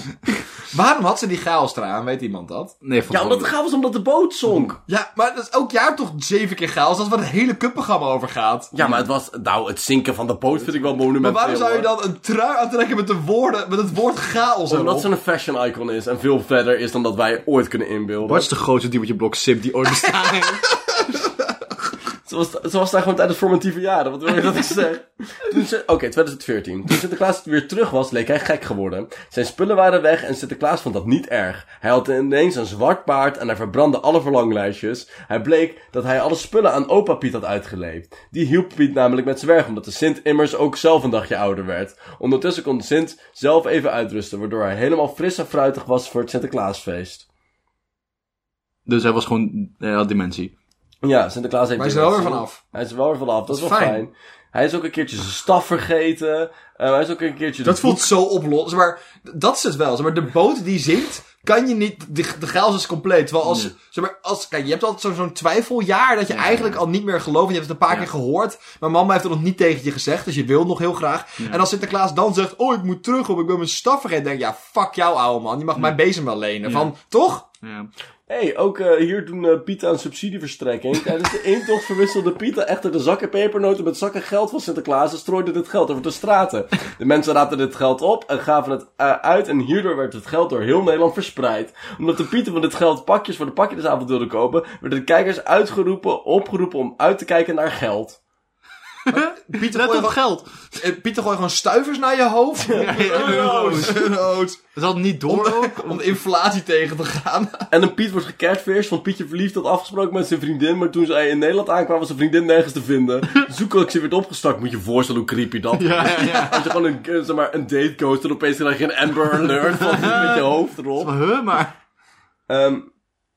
Waarom had ze die chaosstraan? Weet iemand dat? Nee, van Ja, omdat het gaaf was omdat de boot zonk. Ja, maar dat is elk jaar toch zeven keer chaos. Dat is waar het hele kutprogramma over gaat. Ja, maar het was... Nou, het zinken van de boot vind ik wel monumenteel. maar waarom zou je hoor. dan een trui aantrekken met, de woorden, met het woord chaos Omdat erop? ze een fashion icon is en veel verder is dan dat wij ooit kunnen inbeelden. Bart is de grootste diepertje blok sip die ooit bestaat. Ze was, ze was daar gewoon tijdens formatieve jaren, wat wil je dat ik zeg? Toen ze- Oké, 2014. Toen Sinterklaas weer terug was, leek hij gek geworden. Zijn spullen waren weg en Sinterklaas vond dat niet erg. Hij had ineens een zwart paard en hij verbrandde alle verlanglijstjes. Hij bleek dat hij alle spullen aan opa Piet had uitgeleend. Die hielp Piet namelijk met zwergen, omdat de Sint immers ook zelf een dagje ouder werd. Ondertussen kon Sint zelf even uitrusten, waardoor hij helemaal fris en fruitig was voor het Sinterklaasfeest. dus hij was gewoon... Hij had dementie. Ja, Sinterklaas heeft... Maar hij is weer er wel weer wat zin. vanaf. Hij is er wel weer vanaf, dat, Dat is is wel fijn. fijn. Hij is ook een keertje zijn staf vergeten. Eh, hij is ook een keertje... de Dat voelt zo oplossend. Maar dat is het wel. Zeg maar de boot die zinkt, kan je niet. De, de chaos is compleet. Terwijl als, zeg maar, als. Kijk, je hebt altijd zo'n zo'n twijfeljaar. dat je eigenlijk al niet meer gelooft. En je hebt het een paar keer gehoord. Maar mama heeft het nog niet tegen je gezegd. Dus je wil nog heel graag. En als Sinterklaas dan zegt: Oh, ik moet terug. Of ik ben mijn staf vergeten. Dan denk ik: Ja, fuck jou, ouwe man. Je mag mijn bezem wel lenen. Van toch? Ja. Hé, hey, ook eh, hier doen eh Pieten aan subsidieverstrekking. Tijdens de intocht verwisselde Pieten echter de zakken pepernoten met zakken geld van Sinterklaas en strooide dit geld over de straten. De mensen raapten dit geld op en gaven het eh, uit en hierdoor werd het geld door heel Nederland verspreid. Omdat de Pieten van dit geld pakjes voor de pakjesavond wilden kopen, werden de kijkers uitgeroepen, opgeroepen om uit te kijken naar geld. Pieter, Let gooi op gewoon, geld. eh, Pieter gooi gewoon stuivers naar je hoofd. euro's. Euro's. Ze hadden niet Om, door ook. om de inflatie tegen te gaan. En een Piet wordt gecatfished, want Pietje verliefd had afgesproken met zijn vriendin, maar toen zij in Nederland aankwamen was zijn vriendin nergens te vinden. De zoekactie werd opgestart, moet je je voorstellen hoe creepy dat is. Ja, ja, ja. Als je gewoon een, eh, zeg maar, een date ghost en opeens krijg je een Amber Alert van, met je hoofd erop. Huh, maar... Ehm,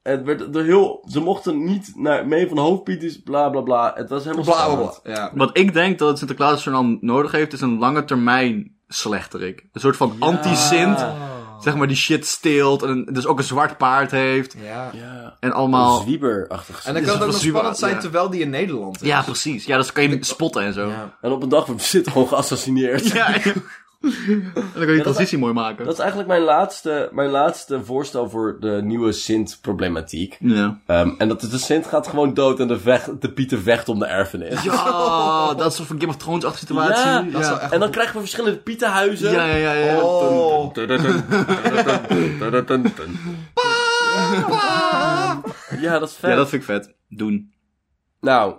het werd de heel, ze mochten niet naar, mee van hoofdpiet, is bla bla bla. Het was helemaal Bla bla spannend. bla. Ja. Wat ik denk dat het Sinterklaasjournaal nodig heeft, is een lange termijn slechterik. Een soort van anti-Sint. Oh. Zeg maar, die shit steelt. En dus ook een zwart paard heeft. Ja. Ja, En een allemaal... zwieberachtig. Ja, En dan kan het ook dat nog was super, spannend zijn ja. terwijl die in Nederland is. dus Ja, precies. Ja, dat kan je spotten en zo. Ja. En op een dag wordt Sid gewoon geassassineerd. Ja, En dan kan je de transitie mooi maken. Dat is eigenlijk mijn laatste, mijn laatste voorstel voor de nieuwe Sint-problematiek. Ja. Ehm, en dat is de Sint gaat gewoon dood en de, vecht, de Pieter vecht om de erfenis. Ja, dat is een Game of Thrones-achtige situatie. Ja, Ja. dat zou echt- En dan krijgen we verschillende Pietenhuizen. Ja, ja, ja, ja. Oh. Ja, dat is vet. Ja, dat vind ik vet. Doen. Nou,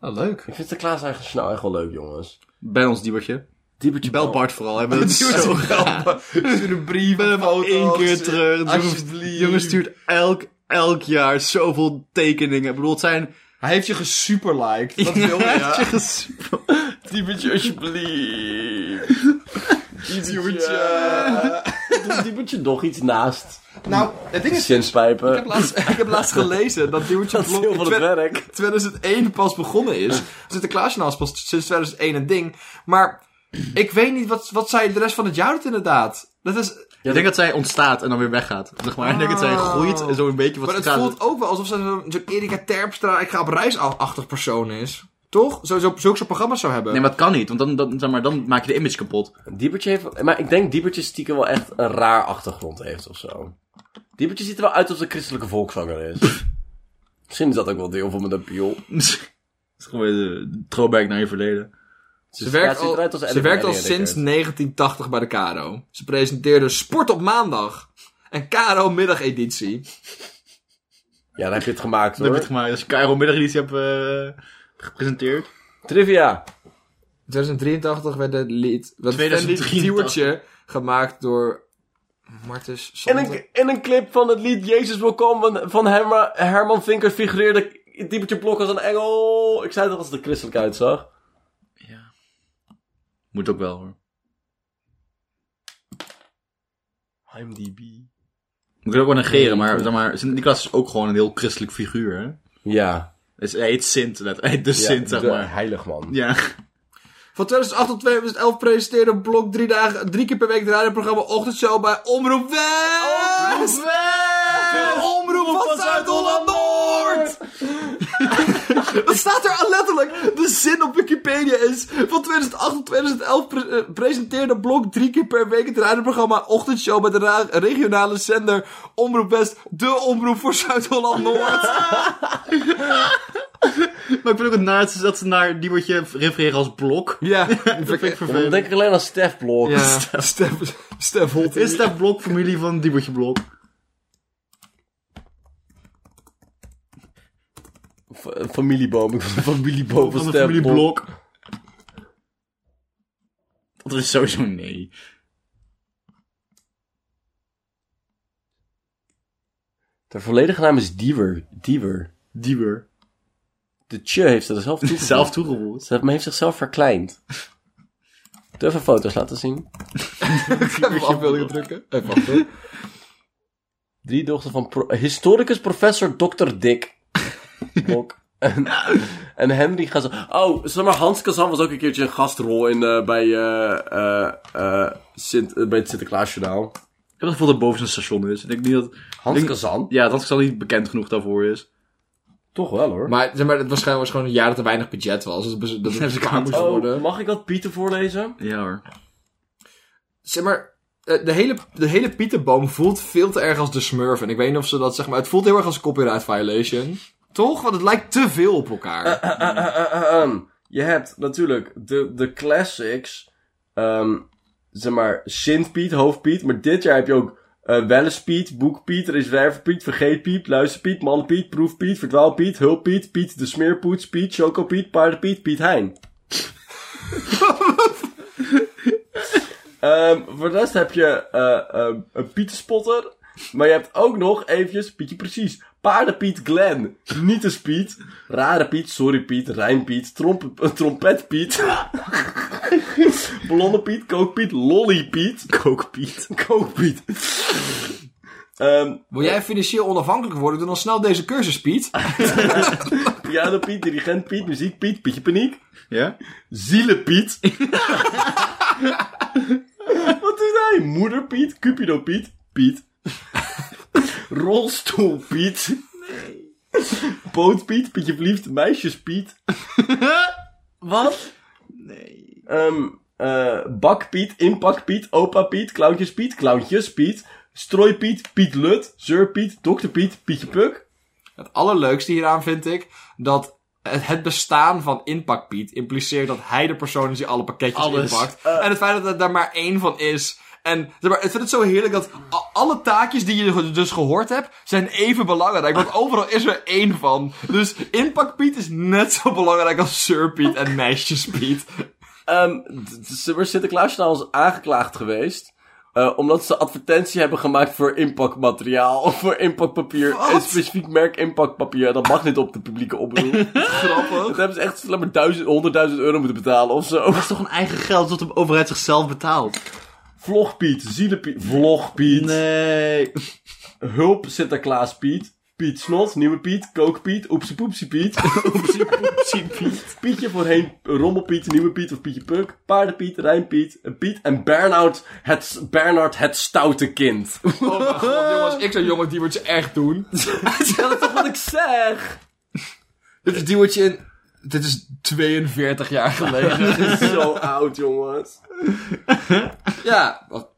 Nou, leuk. ik vind Sinterklaas eigenlijk nou echt wel leuk, jongens. Bij ons, Diebertje. Diebertje Bel Bart vooral. Hebben we het zo graag. Stuur een brief. foto's. Eén keer terug. Alsjeblieft. Jongens stuurt elk, elk jaar zoveel tekeningen. Ik bedoel, het zijn... Hij heeft je gesuperliked. Dat wil Hij je. heeft je gesp- Diebertje, alsjeblieft. Diebertje. Doet Diebertje nog iets naast Nou, het ding is... zinspijpen? Ik heb, laatst, ik heb laatst gelezen dat Diebertje Dat is heel Blok in van het twe- werk. 2001 pas begonnen is. Sinterklaasjournaal is pas sinds 2001 een ding. Maar ik weet niet, wat, wat zij de rest van het jaar doet inderdaad? Dat is, ik denk dat zij ontstaat en dan weer weggaat. Zeg maar. Ik denk dat zij groeit en zo een beetje wat maar het gaat- voelt ook wel alsof zij zo'n zo'n Erika Terpstra, ik ga op reis af- achtig persoon is. Toch? Zo, zo, zulke soort programma's zou hebben. Nee, maar dat kan niet. Want dan, dan, zeg maar, dan maak je de image kapot. Diebertje heeft... Maar ik denk Diebertje stiekem wel echt een raar achtergrond heeft of zo. Diebertje ziet er wel uit als een christelijke volkszanger is. Misschien is dat ook wel deel van mijn Dus appeal. Het is gewoon de throwback naar je verleden. Ze werkt, Ja, ziet al, eruit als ze Ellen werkt al Verheyen, sinds Rickert. 1980 bij de Caro. Ze presenteerde Sport op Maandag. En Caro middageditie. Ja, dan heb je het gemaakt Dat heb hoor. je het gemaakt. Als je Cairo middageditie hebt eh, gepresenteerd. Trivia. In 2083 werd het lied... Wat 2083. Duwertje gemaakt door... Martens In Sander. een, in een clip van het lied Jezus wil komen van, van Herma- Herman Vinker figureerde Diebertje Blok als een engel. Ik zei dat als het er christelijk uitzag. Moet ook wel hoor. IMDb. Moet ik ook wel negeren, maar, zeg maar Sint-Nicolaas is ook gewoon een heel christelijk figuur. Hè? Ja. Dus hij heet Sint, letterlijk. hij heet de ja, Sint, zeg de maar. Heilig man. Ja. Van 2008 tot 2011 presenteerde Blok drie, dagen, drie keer per week het radioprogramma Ochtendshow bij Omroep West! De Omroep van Zuid-Holland-Noord! Dat staat er letterlijk. De zin op Wikipedia is... Van 2008 tot 2011 pre- eh, presenteerde Blok drie keer per week het radioprogramma Ochtendshow bij de ra- regionale zender Omroep West. De Omroep voor Zuid-Holland-Noord. Maar ik vind ook het naast dat ze naar die je refereren als blok. Ja, Dat vind ik Dan vervelend. denk ik alleen aan Stef Blok. ja. Stef, Stef Holt. Is dat blok familie van Diebertje Blok? F- familieboom. Ik was een familieboom van Van de Stef familie Blok. Blok? Dat is sowieso nee. De volledige naam is Diewer. Diewer. Dieber. De tje heeft ze er zelf toegevoegd. Zelf toegevoegd. Ze heeft- men heeft zichzelf verkleind. Durf even foto's laten zien. Even afbeeldingen drukken. Even wachten. Drie dochter van pro- historicus professor Dr. Dick. Blok. En, en Henry gaan ze... Oh, zeg maar, Hans Kazan was ook een keertje een gastrol in, eh, bij, eh, eh, eh, Sint, eh, bij het Sinterklaasjournaal. Ik heb het gevoel dat het boven zijn station is. Ik denk niet dat... Hans Link- Kazan? Ja, dat is al niet bekend genoeg daarvoor is. Toch wel, hoor. Maar, zeg maar het was gewoon, was gewoon een jaar dat er weinig budget was. Dus dat dat het kamer bekaamd moest worden. Oh, mag ik dat Pieter voorlezen? Ja hoor. Zeg maar, eh, de hele, de hele Pieterboom voelt veel te erg als de Smurf. En ik weet niet of ze dat zeg maar... Het voelt heel erg als een copyright violation. Toch? Want het lijkt te veel op elkaar. Eh, eh, eh, eh, ehm. Je hebt natuurlijk de, de classics. ehm, zeg maar, Sint-Piet, Hoofdpiet. Maar dit jaar heb je ook eh Welles-Piet, Boek-Piet, Er is Werver-Piet, Vergeet-Piet, Luister-Piet, Man-Piet, Proef-Piet, Verdwaal-Piet, Hulp-Piet, Piet de Smeerpoets, Piet, Choco-Piet, Paarden-Piet, Piet Hein. Ehm, voor de rest heb je eh ehm, een Pietenspotter. Maar je hebt ook nog eventjes, Pietje precies, Paardenpiet Glen, Nietes Piet, Rare Piet, Sorry Piet, Rijnpiet, tromp eh, Trompet Piet, Blonde Piet, Kookpiet, Lolly Piet, Kookpiet, Kookpiet. Ehm Wil jij financieel onafhankelijk worden? Doe dan snel deze cursus, Piet. piano Piet, Dirigent Piet, Muziek Piet, Pietje Paniek, Ja? Zielen Piet. Wat doet hij? Moeder Piet, Cupido Piet, Piet. Rolstoel Piet. Boot Piet, Pietje Verliefd, Meisjes Piet. Wat? Nee. eh Bakpiet, Inpakpiet, Opa Piet, Clowntjes Piet, Clowntjes Piet, Strooi Piet, Piet Lut, Zeur Piet, Dokter Piet, Pietje Puk. Het allerleukste hieraan vind ik dat het het bestaan van Inpak Piet impliceert dat hij de persoon is die alle pakketjes Alles. inpakt. en het feit dat er daar maar één van is. En zeg maar, ik vind het zo heerlijk dat a- alle taakjes die je ge- dus gehoord hebt, zijn even belangrijk. Want overal is er één van. Dus Inpak Piet is net zo belangrijk als Sir Piet en Meisjes Piet. Ehm d- d- ze- maar Sinterklaas is nou eens aangeklaagd geweest. eh, omdat ze advertentie hebben gemaakt voor inpakmateriaal. Of voor inpakpapier. Een specifiek merk inpakpapier. Dat mag niet op de publieke oproep. Dat Grappig. hebben ze echt alleen maar duizend, honderdduizend euro moeten betalen of zo. Dat is toch een eigen geld dat de overheid zichzelf betaalt? Vlogpiet, Zielepiet, Vlogpiet. Nee. Hulp Sinterklaas Piet. Piet Snot, Nieuwe Piet, Kookpiet, Oepsie Poepsie Piet. Oepsie Poepsie Piet. Pietje voorheen, Rommelpiet, Nieuwe Piet of Pietje Puk. Paardenpiet, Rijnpiet, een Piet en Bernard het, Bernard het stoute kind. Oh mijn god, jongens, ik zou jongen die moet je echt doen. dat is toch wat ik zeg? Dit is die wat je in... Dit is 42 jaar geleden. Zo oud, jongens. ja, wat-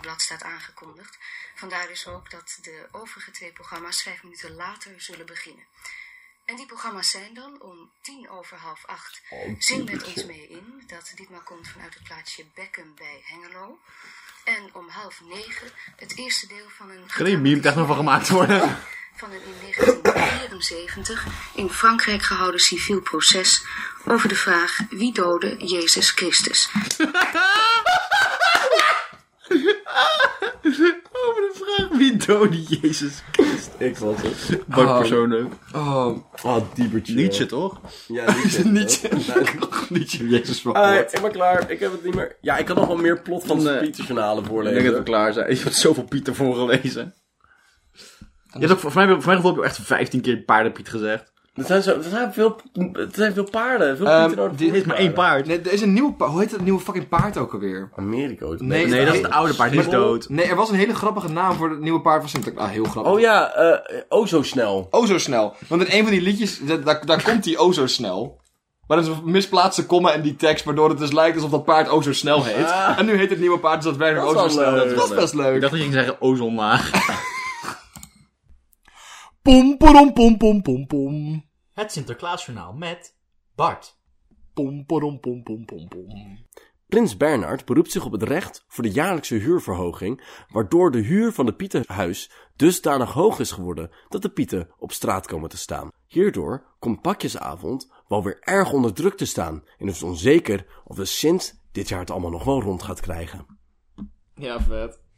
blad staat aangekondigd. Vandaar dus ook dat de overige twee programma's vijf minuten later zullen beginnen. En die programma's zijn dan om tien over half acht. Zing met ons mee in dat ditmaal komt vanuit het plaatsje Beckham bij Hengelo. En om half negen het eerste deel van een... Kan er een meme techno van gemaakt worden? van een in 1974 in Frankrijk gehouden civiel proces over de vraag wie doodde Jezus Christus. Oh, Over de vraag wie doodde Jezus. Ik was het. Wat persoonlijk. Oh, Oh, diebertje. Nietzsche toch? Ja, Nietzsche. Nietzsche. Nee. Nietzsche, Jezus van Ah, God. ik ben klaar. Ik heb het niet meer. Ja, ik kan nog wel meer plot van de Nee. Pieter-journalen Ik denk dat voorlezen. we klaar zijn. Je hebt zoveel Pieter voorgelezen. Je hebt ook, voor, mij, voor mijn gevoel heb je echt 15 keer paardenpiet gezegd. Er zijn, zo, er zijn, veel, er zijn veel paarden. Veel Ehm, Pieter-journalen dit voor is Maar één paard. Nee, er is een nieuwe paard. Hoe heet dat nieuwe fucking paard ook alweer? Amerika. hoor. Nee, Nee, dat is het oude paard. Die is dood. Nee, er was een hele grappige naam voor het nieuwe paard van Sinterklaas. Ah, heel grappig. Oh ja, eh oh zo snel. Oh, zo snel. Want in een van die liedjes, da- daar, daar komt die oh zo snel. Maar dat is een misplaatste komma in die tekst, waardoor het dus lijkt alsof dat paard oh zo snel heet. Ah. En nu heet het nieuwe paard dus daadwerkelijk Dat is oh zo wel snel. leuk. Dat was best Ik leuk. dacht dat je ging zeggen oh, ozonlaag. Pom, pom, pom, pom, pom, pom. Het Sinterklaasjournaal met Bart. Pom, pom, pom, pom, pom, pom. Prins Bernhard beroept zich op het recht voor de jaarlijkse huurverhoging, waardoor de huur van de Pietenhuis dusdanig hoog is geworden dat de Pieten op straat komen te staan. Hierdoor komt pakjesavond wel weer erg onder druk te staan en is het onzeker of de Sint dit jaar het allemaal nog wel rond gaat krijgen. Ja, vet.